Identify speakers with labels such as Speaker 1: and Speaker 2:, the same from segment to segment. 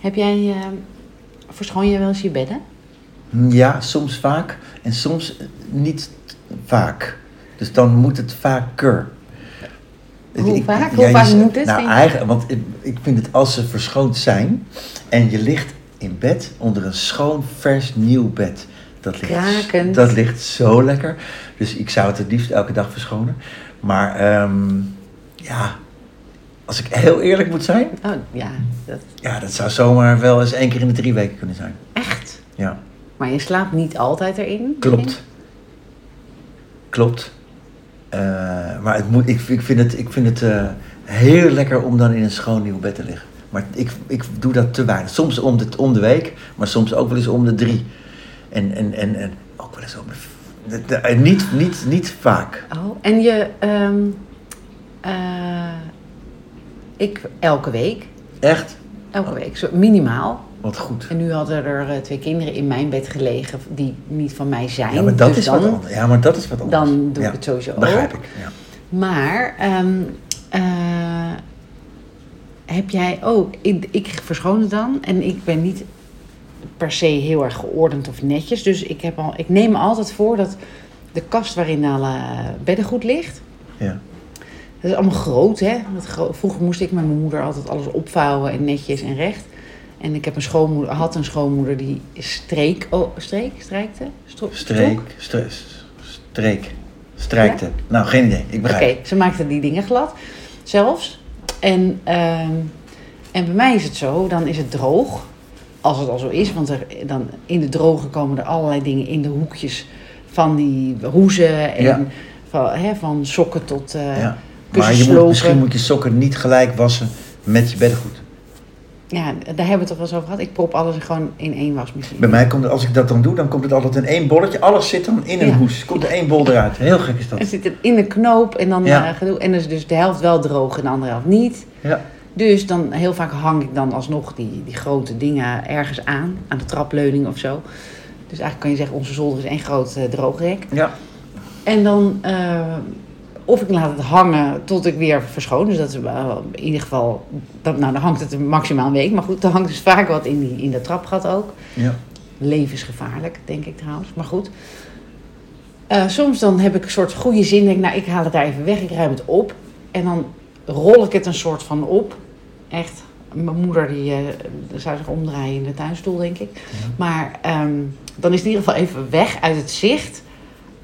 Speaker 1: Heb jij, eh, verschoon je wel eens je bedden?
Speaker 2: Ja, soms vaak en soms niet vaak. Dus dan moet het vaker.
Speaker 1: Hoe vaak? Hoe
Speaker 2: jij
Speaker 1: vaak
Speaker 2: zegt-
Speaker 1: moet het,
Speaker 2: Nou,
Speaker 1: denk je?
Speaker 2: eigenlijk, want ik, ik vind het als ze verschoond zijn en je ligt in bed onder een schoon, vers, nieuw bed. Dat ligt,
Speaker 1: Krakend.
Speaker 2: dat ligt zo lekker. Dus ik zou het het liefst elke dag verschonen. Maar ehm, ja, als ik heel eerlijk moet zijn,
Speaker 1: Oh ja, dat,
Speaker 2: ja, dat zou zomaar wel eens één keer in de drie weken kunnen zijn.
Speaker 1: echt.
Speaker 2: Ja.
Speaker 1: Maar je slaapt niet altijd erin?
Speaker 2: Klopt. Klopt. Eh, maar het moet, ik, ik vind het, ik vind het eh, heel lekker om dan in een schoon nieuw bed te liggen. Maar ik, ik doe dat te weinig. Soms om de, om de week, maar soms ook wel eens om de drie. En, en, en, en ook wel eens om de... de- de- eh, niet, niet, niet vaak.
Speaker 1: Oh, en je, ehm, eh, ik elke week,
Speaker 2: Echt?
Speaker 1: elke week, zo, minimaal.
Speaker 2: Wat goed.
Speaker 1: En nu hadden er eh, twee kinderen in mijn bed gelegen die niet van mij zijn.
Speaker 2: Ja, maar dat,
Speaker 1: dus
Speaker 2: is
Speaker 1: dan,
Speaker 2: wat anders. Ja, maar dat is wat anders.
Speaker 1: dan doe ik
Speaker 2: Ja,
Speaker 1: het sowieso ook.
Speaker 2: Begrijp ik, ja.
Speaker 1: Maar ehm, eh, heb jij ook, ik, ik verschoon het dan en ik ben niet per se heel erg geordend of netjes. Dus ik, heb al, ik neem me altijd voor dat de kast waarin alle beddengoed ligt,
Speaker 2: ja.
Speaker 1: dat is allemaal groot, hè? Dat gro- Vroeger moest ik met mijn moeder altijd alles opvouwen en netjes en recht. En ik heb een schoonmoeder, had een schoonmoeder die streek, oh, streek, strijkte? Stro-
Speaker 2: Streek,
Speaker 1: strok?
Speaker 2: stre- s- streek, strijkte. Nou, geen idee. Ik
Speaker 1: Oké,
Speaker 2: begrijp.
Speaker 1: ze maakte die dingen glad zelfs. En, ehm, en bij mij is het zo, dan is het droog. Als het al zo is, want er, dan in de droge komen er allerlei dingen in de hoekjes van die hoezen en
Speaker 2: Ja.
Speaker 1: van, hè, van sokken tot eh
Speaker 2: Ja. Maar
Speaker 1: kussens
Speaker 2: je moet,
Speaker 1: lopen.
Speaker 2: misschien moet je sokken niet gelijk wassen met je beddengoed.
Speaker 1: Ja, daar hebben we het toch wel eens over gehad. Ik prop alles gewoon in één wasmachine.
Speaker 2: Bij mij komt het, als ik dat dan doe, dan komt het altijd in één bolletje. Alles zit dan in een
Speaker 1: Ja.
Speaker 2: hoes. Komt er één bol eruit. Heel gek is
Speaker 1: Er
Speaker 2: dat.
Speaker 1: zit het in de knoop en dan
Speaker 2: Ja.
Speaker 1: eh, gedoe. En dan is dus de helft wel droog en de andere helft niet.
Speaker 2: Ja.
Speaker 1: Dus dan heel vaak hang ik dan alsnog die, die grote dingen ergens aan, aan de trapleuning of zo. Dus eigenlijk kan je zeggen, onze zolder is één groot eh, droogrek.
Speaker 2: Ja.
Speaker 1: En dan, eh, of ik laat het hangen tot ik weer verschoon. Dus dat is wel in ieder geval, dat, nou dan hangt het maximaal een week. Maar goed, er hangt dus vaak wat in, die, in dat trapgat ook.
Speaker 2: ja.
Speaker 1: Levensgevaarlijk, denk ik trouwens. Maar goed. Eh, soms dan heb ik een soort goede zin. Denk, ik, nou, ik haal het daar even weg. Ik ruim het op. En dan rol ik het een soort van op. Echt. Mijn moeder die, eh, zou zich omdraaien in de tuinstoel, denk ik. Maar ehm, dan is het in ieder geval even weg uit het zicht.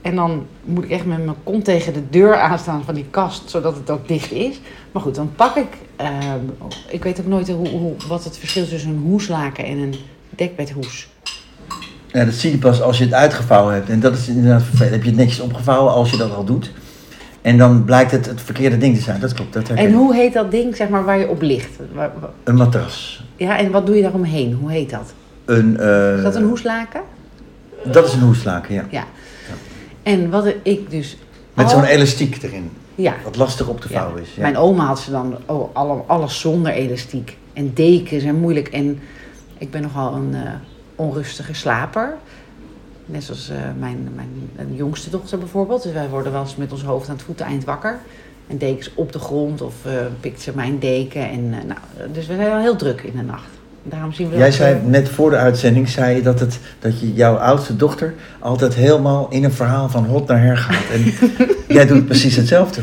Speaker 1: En dan moet ik echt met mijn kont tegen de deur aanstaan van die kast, zodat het ook dicht is. Maar goed, dan pak ik. ehm, ik weet ook nooit hoe, hoe, wat het verschil is tussen een hoeslaken en een dekbedhoes.
Speaker 2: Ja, dat zie je pas als je het uitgevouwen hebt. En dat is inderdaad vervelend. Heb je het netjes opgevouwen als je dat al doet. En dan blijkt het het verkeerde ding te zijn. Dat klopt. Dat herken
Speaker 1: En
Speaker 2: ik.
Speaker 1: hoe heet dat ding zeg maar, waar je op ligt? Waar- waar-
Speaker 2: Een matras.
Speaker 1: Ja, en wat doe je daaromheen? Hoe heet dat?
Speaker 2: Een, eh,
Speaker 1: Is dat een hoeslaken?
Speaker 2: Dat is een hoeslaken, ja.
Speaker 1: Ja. En wat ik dus.
Speaker 2: Met
Speaker 1: al-
Speaker 2: zo'n elastiek erin.
Speaker 1: Ja.
Speaker 2: Wat lastig op te
Speaker 1: Ja.
Speaker 2: vouwen is. Ja.
Speaker 1: Mijn oma had ze dan oh, alle, alles zonder elastiek. En dekens en moeilijk. En ik ben nogal een eh, onrustige slaper. Net zoals eh, mijn, mijn, mijn jongste dochter bijvoorbeeld. Dus wij worden wel eens met ons hoofd aan het voeteneind wakker. En dekens op de grond of eh, pikt ze mijn deken. En, eh, nou, dus we zijn wel heel druk in de nacht. Daarom zien we
Speaker 2: Jij
Speaker 1: dat,
Speaker 2: zei
Speaker 1: eh,
Speaker 2: net voor de uitzending zei je dat, het, dat je jouw oudste dochter altijd helemaal in een verhaal van hot naar her gaat. En jij doet precies hetzelfde.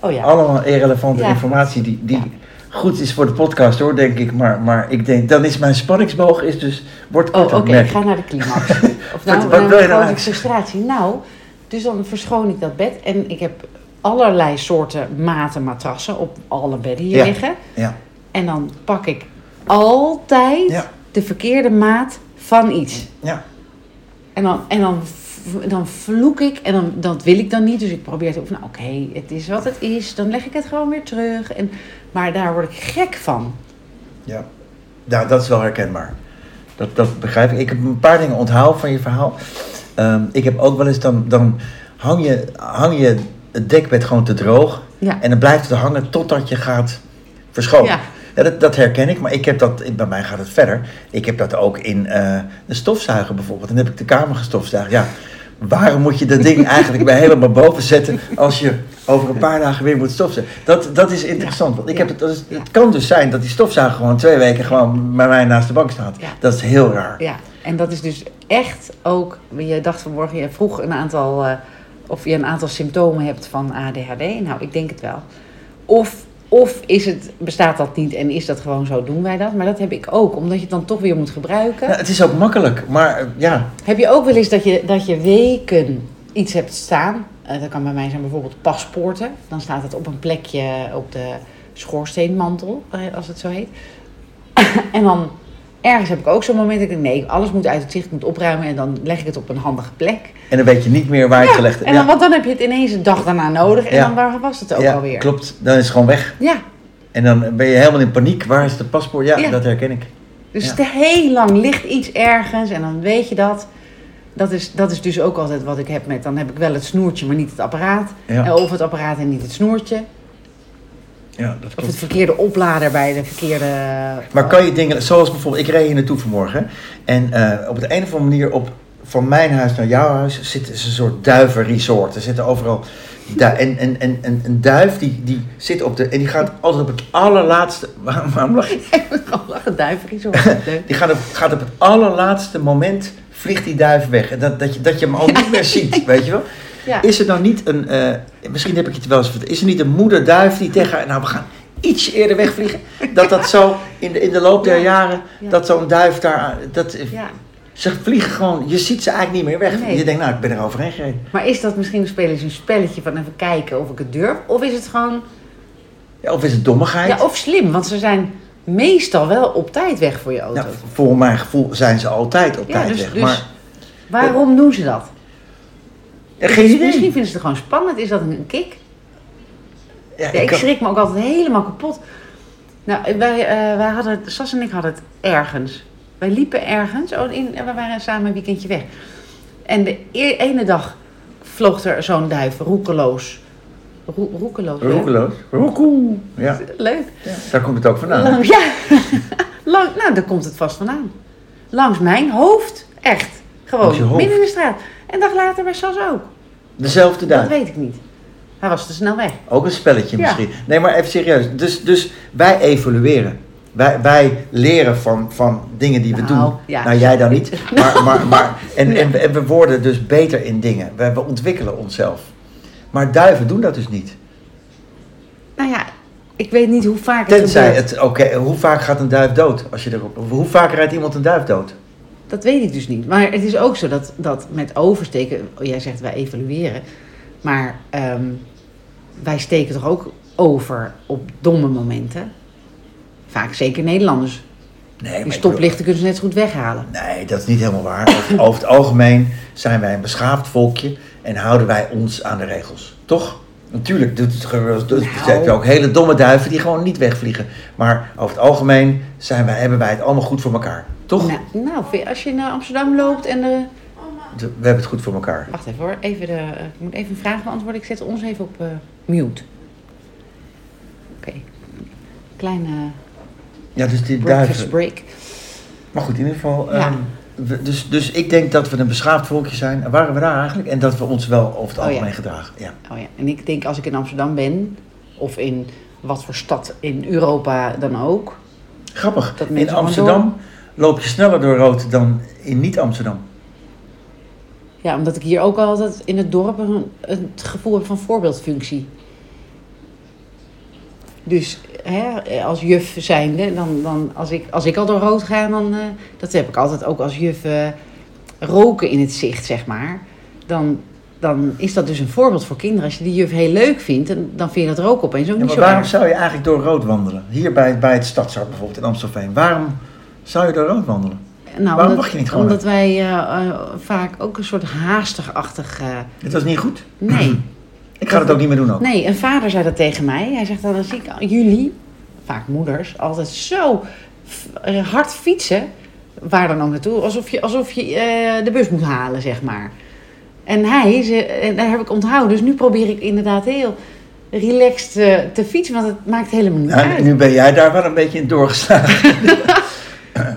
Speaker 1: Oh ja.
Speaker 2: Allemaal irrelevante
Speaker 1: Ja.
Speaker 2: informatie die, die
Speaker 1: Ja.
Speaker 2: goed is voor de podcast hoor, denk ik. Maar, maar ik denk, dan is mijn spanningsboog is dus, wordt
Speaker 1: Oh, oké,
Speaker 2: korter,
Speaker 1: ik
Speaker 2: merk ik.
Speaker 1: ga naar de climax. Of nou,
Speaker 2: Wat-
Speaker 1: dan
Speaker 2: wat wil je nou
Speaker 1: grote
Speaker 2: eigenlijk?
Speaker 1: frustratie. Nou, dus dan verschoon ik dat bed. En ik heb allerlei soorten maten matrassen op alle bedden hier
Speaker 2: Ja.
Speaker 1: liggen.
Speaker 2: Ja,
Speaker 1: En dan pak ik altijd
Speaker 2: Ja.
Speaker 1: de verkeerde maat van iets.
Speaker 2: ja,
Speaker 1: En dan, en dan, v- dan vloek ik, en dan, dat wil ik dan niet. Dus ik probeer te van, nou, oké, het is wat het is. Dan leg ik het gewoon weer terug. En, maar daar word ik gek van.
Speaker 2: ja. Nou, dat is wel herkenbaar. Dat, dat begrijp ik. Ik heb een paar dingen onthaald van je verhaal. Ehm, ik heb ook wel eens, dan, dan hang, je, hang je het dekbed gewoon te droog.
Speaker 1: Ja.
Speaker 2: En dan blijft het hangen totdat je gaat verschonen. Ja.
Speaker 1: Ja.
Speaker 2: dat, dat herken ik, maar ik heb dat, bij mij gaat het verder. Ik heb dat ook in eh een stofzuiger bijvoorbeeld. Dan heb ik de kamer gestofzuigd. Ja, waarom moet je dat ding eigenlijk bij helemaal boven zetten als je over een paar dagen weer moet stofzuigen. Dat, dat is interessant. Want ik heb het, dat is- het kan dus zijn dat die stofzuiger gewoon twee weken gewoon bij mij naast de bank staat.
Speaker 1: Ja.
Speaker 2: Dat is heel raar.
Speaker 1: Ja, en dat is dus echt ook. Je dacht vanmorgen, je vroeg een aantal. eh, of je een aantal symptomen hebt van ADHD. Nou, ik denk het wel. Of, of is het, bestaat dat niet en is dat gewoon zo, doen wij dat? Maar dat heb ik ook, omdat je het dan toch weer moet gebruiken.
Speaker 2: Nou, het is ook makkelijk, maar eh, ja.
Speaker 1: Heb je ook wel eens dat je, dat je weken iets hebt staan? Eh, dat kan bij mij zijn bijvoorbeeld paspoorten. Dan staat het op een plekje op de schoorsteenmantel, eh, als het zo heet. en dan ergens heb ik ook zo'n moment dat ik denk, nee, alles moet uit het zicht, ik moet opruimen. En dan leg ik het op een handige plek.
Speaker 2: En dan weet je niet meer waar je het gelegd hebt.
Speaker 1: En dan, want dan heb je het ineens een dag daarna nodig. En
Speaker 2: Ja.
Speaker 1: dan waar was het ook
Speaker 2: ja,
Speaker 1: alweer?
Speaker 2: klopt. Dan is het gewoon weg.
Speaker 1: Ja,
Speaker 2: En dan ben je helemaal in paniek. Waar is de paspoort? Ja,
Speaker 1: Ja.
Speaker 2: dat herken ik.
Speaker 1: dus
Speaker 2: Ja.
Speaker 1: te heel lang ligt iets ergens en dan weet je dat. Dat is, dat is dus ook altijd wat ik heb met, dan heb ik wel het snoertje, maar niet het apparaat.
Speaker 2: Ja,
Speaker 1: Of het apparaat en niet het snoertje.
Speaker 2: ja dat
Speaker 1: Of
Speaker 2: klopt.
Speaker 1: het verkeerde oplader bij de verkeerde.
Speaker 2: Maar kan je dingen, zoals bijvoorbeeld, ik reed hier naartoe vanmorgen. En eh, op de een of andere manier, op, van mijn huis naar jouw huis, zit is een soort duivenresort. Er zitten overal. Du- en, en, en, en een duif die, die zit op de. En die gaat altijd op het allerlaatste. Waarom, waarom lach je?
Speaker 1: Gewoon lachen, duiveries hoor. Leuk.
Speaker 2: Die gaat op, gaat op het allerlaatste moment. Vliegt die duif weg. En dat, dat, je, dat je hem al niet meer ziet, weet je wel?
Speaker 1: Ja.
Speaker 2: Is er dan niet een, eh, misschien heb ik het wel eens verteld, is er niet een moederduif die tegen haar, nou we gaan iets eerder wegvliegen, dat dat zo in de, in de loop der
Speaker 1: Ja.
Speaker 2: jaren,
Speaker 1: Ja.
Speaker 2: dat zo'n duif daar, aan- dat,
Speaker 1: ja.
Speaker 2: ze vliegen gewoon, je ziet ze eigenlijk niet meer weg.
Speaker 1: Nee.
Speaker 2: Je denkt, nou ik ben er overheen gereden.
Speaker 1: Maar is dat misschien spelen ze een spelletje van even kijken of ik het durf? Of is het gewoon.
Speaker 2: Ja, of is het dommigheid?
Speaker 1: Ja, of slim, want ze zijn meestal wel op tijd weg voor je auto.
Speaker 2: nou, voor mijn gevoel zijn ze altijd op
Speaker 1: Ja,
Speaker 2: tijd
Speaker 1: dus-
Speaker 2: weg.
Speaker 1: dus-
Speaker 2: maar
Speaker 1: Waarom doen ze dat?
Speaker 2: Ja, eh, geen idee.
Speaker 1: dus Misschien vinden ze het gewoon spannend. Is dat een kick?
Speaker 2: Ja,
Speaker 1: Ja,
Speaker 2: ik
Speaker 1: ik
Speaker 2: kan-
Speaker 1: schrik me ook altijd helemaal kapot. Nou, wij, eh, wij hadden, het- Sas en ik hadden het ergens. Wij liepen ergens. Oh, in, en we waren samen een weekendje weg. En de e- ene dag vloog er zo'n duif roekeloos. Roe- roekeloos. hè?
Speaker 2: Roekeloos. Roekoe. Ja,
Speaker 1: Leuk.
Speaker 2: daar komt het ook vandaan.
Speaker 1: Lang, ja. Lang, nou, daar komt het vast vandaan. Langs mijn hoofd. Echt. Gewoon.
Speaker 2: Langs je hoofd.
Speaker 1: Midden in de straat. En een dag later bij Sas ook.
Speaker 2: Dezelfde
Speaker 1: Dat
Speaker 2: duif.
Speaker 1: weet ik niet. Hij was te snel weg.
Speaker 2: Ook een spelletje
Speaker 1: Ja.
Speaker 2: misschien. Nee, maar even serieus. Dus, dus wij evolueren. Wij, wij leren van, van dingen die we
Speaker 1: Nou,
Speaker 2: doen.
Speaker 1: ja.
Speaker 2: Nou, jij dan niet. Maar, maar, maar, en, en, en we worden dus beter in dingen. We, we ontwikkelen onszelf. Maar duiven doen dat dus niet.
Speaker 1: Nou ja, ik weet niet hoe vaak het
Speaker 2: Tenzij
Speaker 1: gebeurt.
Speaker 2: het, oké, hoe vaak gaat een duif dood? Als je erop, hoe vaak rijdt iemand een duif dood?
Speaker 1: Dat weet ik dus niet. Maar het is ook zo dat, dat met oversteken, jij zegt wij evalueren, maar ehm, wij steken toch ook over op domme momenten. Vaak zeker Nederlanders.
Speaker 2: Nee, maar
Speaker 1: Die
Speaker 2: ik
Speaker 1: stoplichten kunnen ze net zo goed weghalen.
Speaker 2: bedoel- Nee, dat is niet helemaal waar. Over, over het algemeen zijn wij een beschaafd volkje en houden wij ons aan de regels. Toch? Natuurlijk doet het, ge- doet-
Speaker 1: Nou.
Speaker 2: zijn er ook hele domme duiven die gewoon niet wegvliegen. Maar over het algemeen zijn wij, hebben wij het allemaal goed voor elkaar. Toch?
Speaker 1: Nou, nou, vind je- als je naar Amsterdam loopt en de...
Speaker 2: De- We hebben het goed voor elkaar.
Speaker 1: Wacht even hoor, even de, eh, ik moet even een vraag beantwoorden. Ik zet ons even op eh, mute. Oké, kleine eh,
Speaker 2: Ja, dus die
Speaker 1: breakfast
Speaker 2: duiven.
Speaker 1: break.
Speaker 2: Maar goed, in ieder geval.
Speaker 1: Ja.
Speaker 2: ehm, we- dus, dus ik denk dat we een beschaafd volkje zijn. En Waren we daar eigenlijk? En dat we ons wel over het
Speaker 1: Oh, ja.
Speaker 2: algemeen gedragen. Ja.
Speaker 1: Oh ja, en ik denk als ik in Amsterdam ben, of in wat voor stad in Europa dan ook.
Speaker 2: Grappig.
Speaker 1: Dat mensen
Speaker 2: in
Speaker 1: gewoon
Speaker 2: Amsterdam loop je sneller door rood dan in niet-Amsterdam.
Speaker 1: Ja, omdat ik hier ook altijd in het dorp een, het gevoel heb van voorbeeldfunctie. Dus hè, als juf zijnde, dan, dan, als, ik, als ik al door rood ga, dan, eh, dat heb ik altijd ook als juf eh, roken in het zicht, zeg maar. Dan, dan is dat dus een voorbeeld voor kinderen. Als je die juf heel leuk vindt, dan, dan vind je dat roken opeens ook
Speaker 2: Ja,
Speaker 1: niet
Speaker 2: maar
Speaker 1: zo
Speaker 2: waarom
Speaker 1: erg.
Speaker 2: zou je eigenlijk door rood wandelen? Hier bij, bij het Stadshart bijvoorbeeld in Amstelveen. Waarom zou je door rood wandelen?
Speaker 1: Nou,
Speaker 2: Waarom
Speaker 1: omdat,
Speaker 2: mag je niet gewoon
Speaker 1: Omdat wij eh, eh, vaak ook een soort haastig-achtig... eh,
Speaker 2: Dit was niet goed.
Speaker 1: nee,
Speaker 2: Ik ga het ook niet meer doen ook.
Speaker 1: nee, een vader zei dat tegen mij. Hij zegt, "Nou, dan dan zie ik al- jullie, vaak moeders, altijd zo f- eh, hard fietsen. Waar dan ook naartoe. Alsof je, alsof je eh, de bus moet halen, zeg maar. En hij, ze, en daar heb ik onthouden. Dus nu probeer ik inderdaad heel relaxed eh, te fietsen. Want het maakt helemaal niet
Speaker 2: Nou,
Speaker 1: uit.
Speaker 2: nu ben jij daar wel een beetje in doorgeslagen.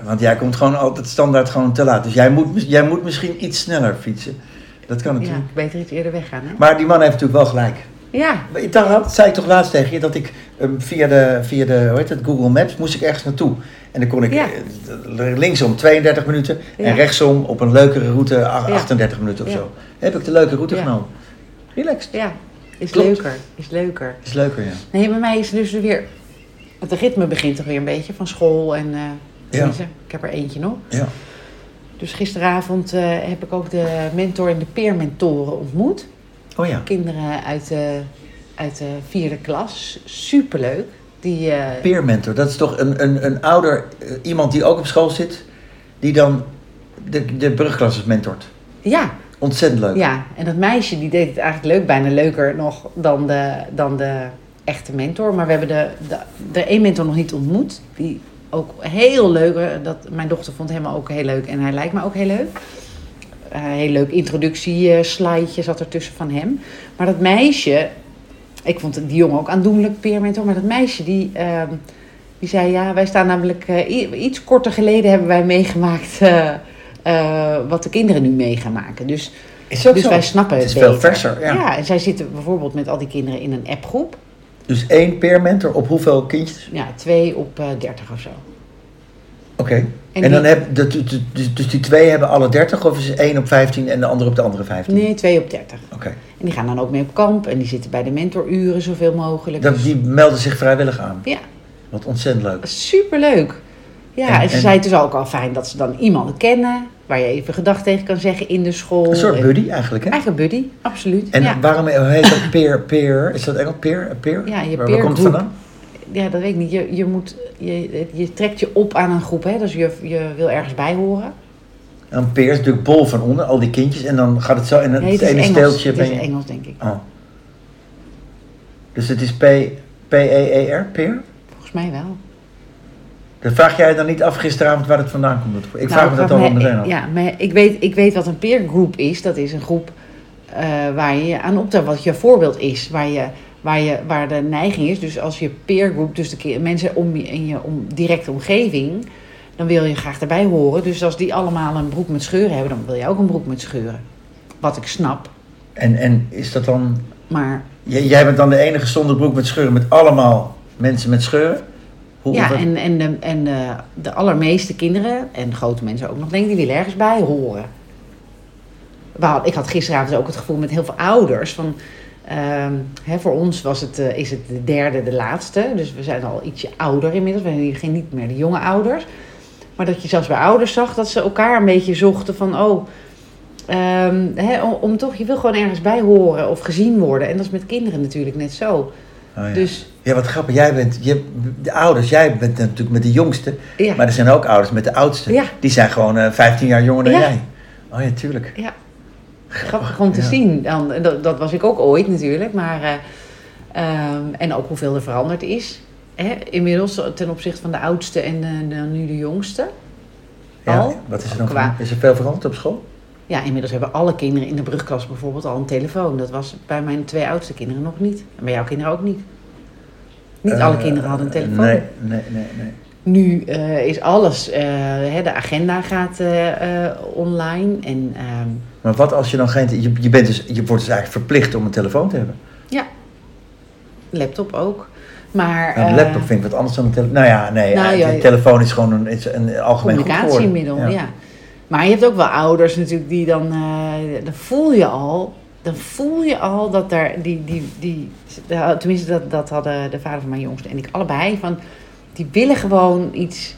Speaker 2: Want jij komt gewoon altijd standaard gewoon te laat. Dus jij moet, mis- jij moet misschien iets sneller fietsen. Dat kan
Speaker 1: Ja,
Speaker 2: natuurlijk.
Speaker 1: beter iets eerder weggaan, hè?
Speaker 2: Maar die man heeft natuurlijk wel gelijk.
Speaker 1: Ja,
Speaker 2: Maar Daar had- zei ik toch laatst tegen je dat ik ehm, via de, via de hoe heet het, Google Maps moest ik ergens naartoe. En dan kon ik
Speaker 1: Ja.
Speaker 2: eh, linksom 32 minuten
Speaker 1: Ja.
Speaker 2: en rechtsom op een leukere route ach-
Speaker 1: Ja.
Speaker 2: 38 minuten of
Speaker 1: Ja.
Speaker 2: zo. Heb ik de leuke route
Speaker 1: Ja.
Speaker 2: genomen. Relaxed.
Speaker 1: ja. Is
Speaker 2: Klopt.
Speaker 1: leuker. Is leuker.
Speaker 2: Is leuker, ja.
Speaker 1: Nee, bij mij is het dus weer. Het ritme begint toch weer een beetje van school en. eh, tenminste, Ik heb er eentje nog.
Speaker 2: ja.
Speaker 1: Dus gisteravond eh, heb ik ook de mentor en de peermentoren ontmoet.
Speaker 2: Oh ja.
Speaker 1: Kinderen uit de, uit de vierde klas. Superleuk. Die, eh,
Speaker 2: Peer mentor, dat is toch een, een, een ouder, eh, iemand die ook op school zit, die dan de, de brugklasses mentort.
Speaker 1: ja,
Speaker 2: Ontzettend leuk.
Speaker 1: ja, en dat meisje die deed het eigenlijk leuk, bijna leuker nog dan de, dan de echte mentor. Maar we hebben de, de, de één mentor nog niet ontmoet. Die ook heel leuk, eh, dat, mijn dochter vond hem ook heel leuk en hij lijkt me ook heel leuk. Eh, heel leuk introductieslideje zat er tussen van hem. Maar dat meisje, ik vond die jongen ook aandoenlijk peermentor, maar dat meisje die, ehm, die zei ja, wij staan namelijk eh, i- iets korter geleden hebben wij meegemaakt eh, eh, wat de kinderen nu mee gaan maken. Dus
Speaker 2: Is ook
Speaker 1: dus
Speaker 2: zo.
Speaker 1: wij snappen
Speaker 2: Het
Speaker 1: het,
Speaker 2: is veel
Speaker 1: beter.
Speaker 2: verser, ja.
Speaker 1: en zij zitten bijvoorbeeld met al die kinderen in een appgroep.
Speaker 2: Dus één peer mentor op hoeveel kindjes?
Speaker 1: Ja, twee op eh, dertig of zo.
Speaker 2: Oké. En,
Speaker 1: En
Speaker 2: dan
Speaker 1: die-
Speaker 2: heb de, de- de- dus, dus die twee hebben alle 30 of is één op 15 en de andere op de andere 15?
Speaker 1: Nee, twee op dertig.
Speaker 2: Oké.
Speaker 1: En die gaan dan ook mee op kamp en die zitten bij de mentoruren zoveel mogelijk. Dus
Speaker 2: Dat- Die melden zich vrijwillig aan.
Speaker 1: Ja,
Speaker 2: Wat ontzettend leuk.
Speaker 1: superleuk. Ja,
Speaker 2: En-
Speaker 1: en, ze
Speaker 2: en-
Speaker 1: zei het dus ook al fijn dat ze dan iemand kennen waar je even gedag tegen kan zeggen in de school.
Speaker 2: Een soort
Speaker 1: En-
Speaker 2: buddy eigenlijk, hè?
Speaker 1: Eigen buddy, absoluut.
Speaker 2: En
Speaker 1: ja.
Speaker 2: waarom heet dat peer, peer? Is dat Engels peer? peer?
Speaker 1: Ja, je
Speaker 2: waar, waar komt het
Speaker 1: peergroep.
Speaker 2: vandaan?
Speaker 1: ja, dat weet ik niet. Je, je, moet, je, je trekt je op aan een groep, hè? dus je, je wil ergens bij horen.
Speaker 2: Een peer is natuurlijk bol van onder, al die kindjes. En dan gaat het zo in het,
Speaker 1: Nee, het is
Speaker 2: ene
Speaker 1: Engels.
Speaker 2: steeltje.
Speaker 1: Het is
Speaker 2: ben je-
Speaker 1: Engels, denk ik.
Speaker 2: Oh. Dus het is P- P-E-E-R, peer?
Speaker 1: Volgens mij wel.
Speaker 2: Dan vraag jij dan niet af gisteravond waar het vandaan komt. dat- Ik
Speaker 1: Nou,
Speaker 2: vraag me dat dan wel meteen af.
Speaker 1: Ja, maar ik weet, ik weet wat een peergroep is. Dat is een groep eh, waar je je aan optelt, wat je voorbeeld is. Waar, je, waar, je, waar de neiging is. Dus als je peergroep, dus de ki- mensen om je, in je om, directe omgeving... dan wil je graag erbij horen. Dus als die allemaal een broek met scheuren hebben... dan wil jij ook een broek met scheuren. Wat ik snap,
Speaker 2: En, en is dat dan...
Speaker 1: maar...
Speaker 2: J- jij bent dan de enige zonder broek met scheuren, met allemaal mensen met scheuren? Hoe,
Speaker 1: Ja,
Speaker 2: hoe-
Speaker 1: en, en, de, en de, de allermeeste kinderen, en grote mensen ook nog, denk ik, die willen ergens bij horen. We had- Ik had gisteravond ook het gevoel met heel veel ouders van... ehm, hè, voor ons was het, eh, is het de derde, de laatste. Dus we zijn al ietsje ouder inmiddels. We zijn hier geen- niet meer de jonge ouders. Maar dat je zelfs bij ouders zag dat ze elkaar een beetje zochten van... Oh, ehm, hè, om, om toch, je wil gewoon ergens bij horen of gezien worden. En dat is met kinderen natuurlijk net zo.
Speaker 2: Oh ja.
Speaker 1: Dus
Speaker 2: ja, wat grappig. Jij bent... Je, de ouders, jij bent natuurlijk met de jongste.
Speaker 1: ja,
Speaker 2: Maar er zijn ook ouders met de oudste.
Speaker 1: Ja.
Speaker 2: Die zijn gewoon eh 15 jaar jonger dan
Speaker 1: Ja.
Speaker 2: jij. Oh ja, tuurlijk.
Speaker 1: ja. grappig om te
Speaker 2: Ja.
Speaker 1: zien. Dan, dat, dat was ik ook ooit natuurlijk. Maar, eh, ehm, en ook hoeveel er veranderd is. Hè? Inmiddels ten opzichte van de oudste en eh, dan nu de jongste.
Speaker 2: Ja,
Speaker 1: Al? Oh,
Speaker 2: wat is er dan?
Speaker 1: Qua-
Speaker 2: van- Is er veel veranderd op school?
Speaker 1: Ja, inmiddels hebben alle kinderen in de brugklas bijvoorbeeld al een telefoon. Dat was bij mijn twee oudste kinderen nog niet. En bij jouw kinderen ook niet. Niet alle
Speaker 2: Eh,
Speaker 1: kinderen hadden een telefoon.
Speaker 2: Nee, nee, nee. nee.
Speaker 1: Nu eh, is alles, eh, hè, de agenda gaat eh, eh, online. En ehm,
Speaker 2: Maar wat als je dan geen... te- Je, je, bent dus, je wordt dus eigenlijk verplicht om een telefoon te hebben.
Speaker 1: ja, laptop ook. Maar,
Speaker 2: Nou, een
Speaker 1: eh,
Speaker 2: laptop vind ik wat anders dan een telefoon. Nou ja, nee.
Speaker 1: Nou
Speaker 2: eh,
Speaker 1: ja,
Speaker 2: de
Speaker 1: ja.
Speaker 2: telefoon is gewoon een, is een algemeen goed
Speaker 1: communicatiemiddel, ja.
Speaker 2: geworden.
Speaker 1: Maar je hebt ook wel ouders natuurlijk die dan, eh, dan voel je al, dan voel je al dat daar die, die, die tenminste dat, dat hadden de vader van mijn jongste en ik allebei van, die willen gewoon iets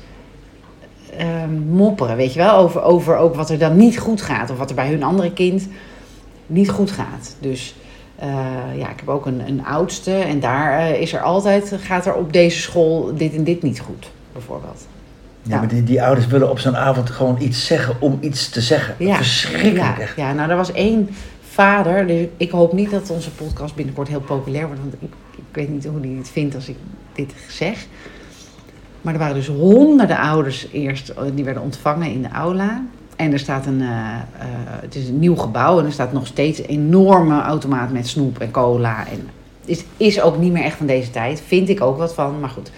Speaker 1: ehm, mopperen, weet je wel, over, over ook wat er dan niet goed gaat of wat er bij hun andere kind niet goed gaat. Dus eh, ja, ik heb ook een, een oudste en daar eh, is er altijd, gaat er op deze school dit en dit niet goed, bijvoorbeeld.
Speaker 2: Ja, maar die, die ouders willen op zo'n avond gewoon iets zeggen om iets te zeggen. Verschrikkelijk
Speaker 1: ja,
Speaker 2: echt.
Speaker 1: Ja, nou, er was één vader. Dus ik hoop niet dat onze podcast binnenkort heel populair wordt. Want ik, ik weet niet hoe hij het vindt als ik dit zeg. Maar er waren dus honderden ouders eerst. eh, Die werden ontvangen in de aula. En er staat een, eh, eh, het is een nieuw gebouw en er staat nog steeds een enorme automaat met snoep en cola. En is, is ook niet meer echt van deze tijd. Vind ik ook wat van, maar goed.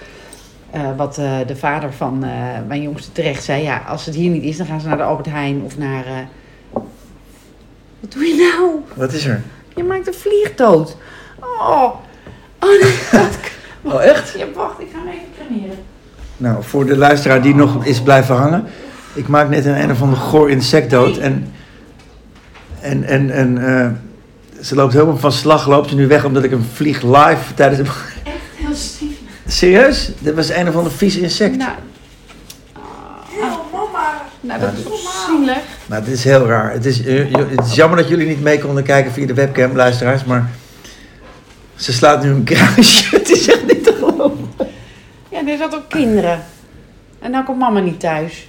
Speaker 1: Eh, wat eh, de vader van eh, mijn jongste terecht zei. Ja, als het hier niet is, dan gaan ze naar de Albert Heijn of naar... eh, Wat doe je nou?
Speaker 2: Wat is er?
Speaker 1: Je maakt een vlieg dood. Oh, oh nee, dat
Speaker 2: Oh, echt?
Speaker 1: Ja, wacht, ik ga hem even traineren.
Speaker 2: Nou, voor de luisteraar die nog is blijven hangen. Ik maak net een een of ander goor insect dood. En, en, en, en eh, ze loopt helemaal van slag. Loopt ze nu weg omdat ik hem vlieg live tijdens hem.
Speaker 1: Echt heel stief.
Speaker 2: Serieus? Dit was een of ander vies insect.
Speaker 1: Nou,
Speaker 3: Heel, mama.
Speaker 1: nou
Speaker 2: Ja,
Speaker 1: dat is
Speaker 2: dit-
Speaker 1: toch zielig.
Speaker 2: Maar het Nou, is heel raar. Het is, eh, jo- het is jammer dat jullie niet mee konden kijken via de webcam, luisteraars. Maar ze slaat nu een kruisje. Het is echt niet te geloven.
Speaker 1: Ja, er zat ook kinderen. En dan komt mama niet thuis.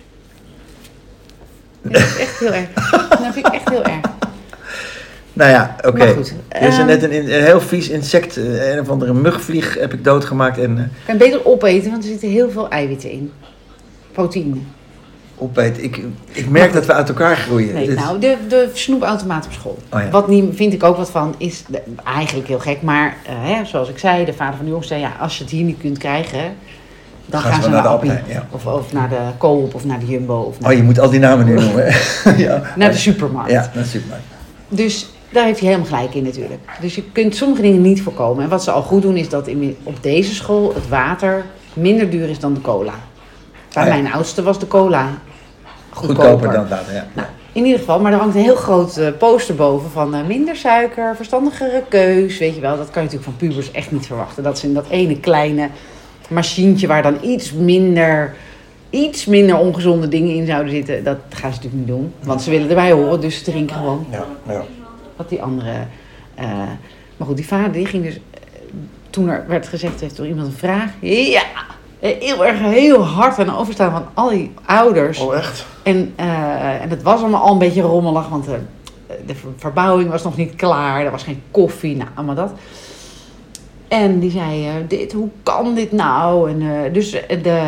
Speaker 1: Nee, dat is echt heel erg. Dat vind ik echt heel erg.
Speaker 2: Nou ja, oké.
Speaker 1: Maar goed,
Speaker 2: Er is
Speaker 1: ehm,
Speaker 2: net een, een heel vies insect, eh, een of andere mugvlieg heb ik doodgemaakt en eh,
Speaker 1: Kan je beter opeten, want er zitten heel veel eiwitten in. Proteïne.
Speaker 2: opeet. Ik, ik merk dat we uit elkaar groeien.
Speaker 1: Nee,
Speaker 2: Dit-
Speaker 1: nou, de, de snoepautomaat op school.
Speaker 2: Oh ja.
Speaker 1: Wat niet, vind ik ook wat van, is de- eigenlijk heel gek. Maar eh, hè, zoals ik zei, de vader van de jongens zei... Ja, als je het hier niet kunt krijgen, dan gaan, ze naar de Appie.
Speaker 2: Alpijn, ja.
Speaker 1: Of, of naar de Coop, of naar de Jumbo, of naar,
Speaker 2: Oh, je moet al die namen nu noemen. hè? ja.
Speaker 1: naar de supermarkt.
Speaker 2: Ja, dat is super.
Speaker 1: Dus daar heeft hij helemaal gelijk in natuurlijk. Dus je kunt sommige dingen niet voorkomen. En wat ze al goed doen is dat in, op deze school het water minder duur is dan de cola. Bij
Speaker 2: Ah, ja.
Speaker 1: mijn oudste was de cola goedkoper.
Speaker 2: Goedkoper dan dat, ja.
Speaker 1: Nou, in ieder geval, maar er hangt een heel groot eh, poster boven van eh, minder suiker, verstandigere keus. Weet je wel, dat kan je natuurlijk van pubers echt niet verwachten. Dat ze in dat ene kleine machientje waar dan iets minder, iets minder ongezonde dingen in zouden zitten. Dat gaan ze natuurlijk niet doen, want ze willen erbij horen, dus ze drinken gewoon
Speaker 2: Ja, ja.
Speaker 1: wat die andere. eh, maar goed, die vader die ging dus. eh, toen er werd gezegd, heeft er iemand een vraag? Ja! Eh, Heel erg, heel hard aan overstaan van al die ouders.
Speaker 2: Oh, echt?
Speaker 1: En, eh, en het was allemaal al een beetje rommelig, want eh, de ver- verbouwing was nog niet klaar. Er was geen koffie, nou, allemaal dat. En die zei, eh, dit, hoe kan dit nou? En, eh, dus eh, de,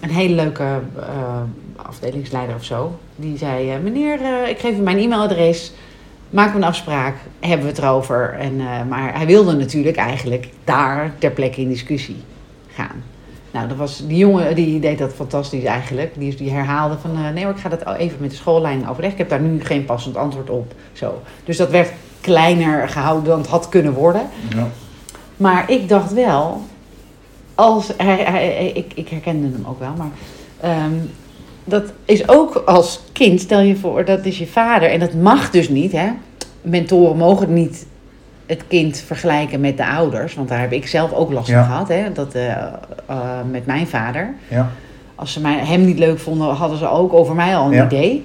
Speaker 1: een hele leuke eh, afdelingsleider of zo, die zei... eh, meneer, eh, ik geef u mijn e-mailadres, maken we een afspraak, hebben we het erover. En, eh, maar hij wilde natuurlijk eigenlijk daar ter plekke in discussie gaan. Nou, dat was, die jongen die deed dat fantastisch eigenlijk. Die, die herhaalde van, eh, nee hoor, ik ga dat al even met de schoolleiding overleggen. Ik heb daar nu geen passend antwoord op. Zo. Dus dat werd kleiner gehouden dan het had kunnen worden.
Speaker 2: Ja.
Speaker 1: Maar ik dacht wel, als hij, hij- hij- ik, ik herkende hem ook wel, maar ehm, dat is ook als kind, stel je voor, dat is je vader en dat mag dus niet. Hè? Mentoren mogen niet het kind vergelijken met de ouders, want daar heb ik zelf ook last
Speaker 2: Ja.
Speaker 1: van gehad, hè? Dat, eh, eh, met mijn vader
Speaker 2: ja.
Speaker 1: als ze mij, hem niet leuk vonden, hadden ze ook over mij al een
Speaker 2: Ja.
Speaker 1: idee.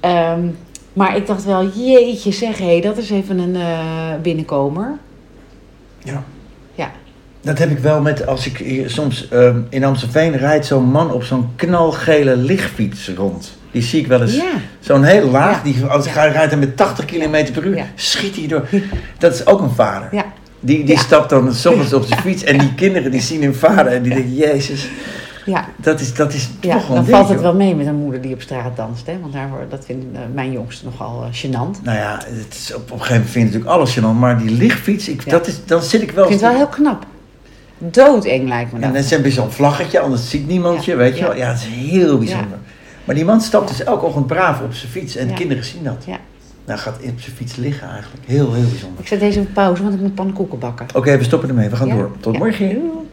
Speaker 1: Ehm, maar ik dacht wel, jeetje zeg, hé, dat is even een eh, binnenkomer.
Speaker 2: Ja.
Speaker 1: Ja.
Speaker 2: Dat heb ik wel met als ik hier soms ehm, in Amstelveen rijdt zo'n man op zo'n knalgele lichtfiets rond. Die zie ik wel eens.
Speaker 1: Ja.
Speaker 2: Zo'n heel laag,
Speaker 1: Ja.
Speaker 2: die, als hij rijdt hij met 80 km per uur,
Speaker 1: Ja.
Speaker 2: schiet hij door. Dat is ook een vader.
Speaker 1: Ja.
Speaker 2: Die, die
Speaker 1: Ja.
Speaker 2: stapt dan soms op zijn fiets en die kinderen die zien hun vader en die denken, jezus,
Speaker 1: Ja,
Speaker 2: dat is, dat is
Speaker 1: ja.
Speaker 2: toch wel
Speaker 1: dan
Speaker 2: een
Speaker 1: valt
Speaker 2: ding,
Speaker 1: het
Speaker 2: joh.
Speaker 1: wel mee met een moeder die op straat danst. Hè? Want daar, wordt- dat vindt eh, mijn jongste nogal eh, gênant.
Speaker 2: Nou ja, het is, op, op een gegeven moment vind ik natuurlijk alles gênant, maar die lichtfiets, ik,
Speaker 1: Ja.
Speaker 2: dat is, dan zit ik wel...
Speaker 1: Ik vind het wel heel knap. Doodeng lijkt me
Speaker 2: En
Speaker 1: dat.
Speaker 2: dan hebben ze zo'n vlaggetje, anders ziet niemand je,
Speaker 1: Ja.
Speaker 2: weet je
Speaker 1: Ja.
Speaker 2: wel. Ja, het is heel bijzonder. Maar die man stapt dus elke ochtend braaf op zijn fiets en
Speaker 1: Ja.
Speaker 2: kinderen zien dat.
Speaker 1: Ja.
Speaker 2: Nou, gaat op zijn fiets liggen eigenlijk. Heel, heel bijzonder.
Speaker 1: Ik zet deze op pauze, want ik moet pannenkoeken bakken.
Speaker 2: Oké, we stoppen ermee. We gaan
Speaker 1: Ja?
Speaker 2: door. Tot
Speaker 1: Ja.
Speaker 2: morgen.
Speaker 1: Doei.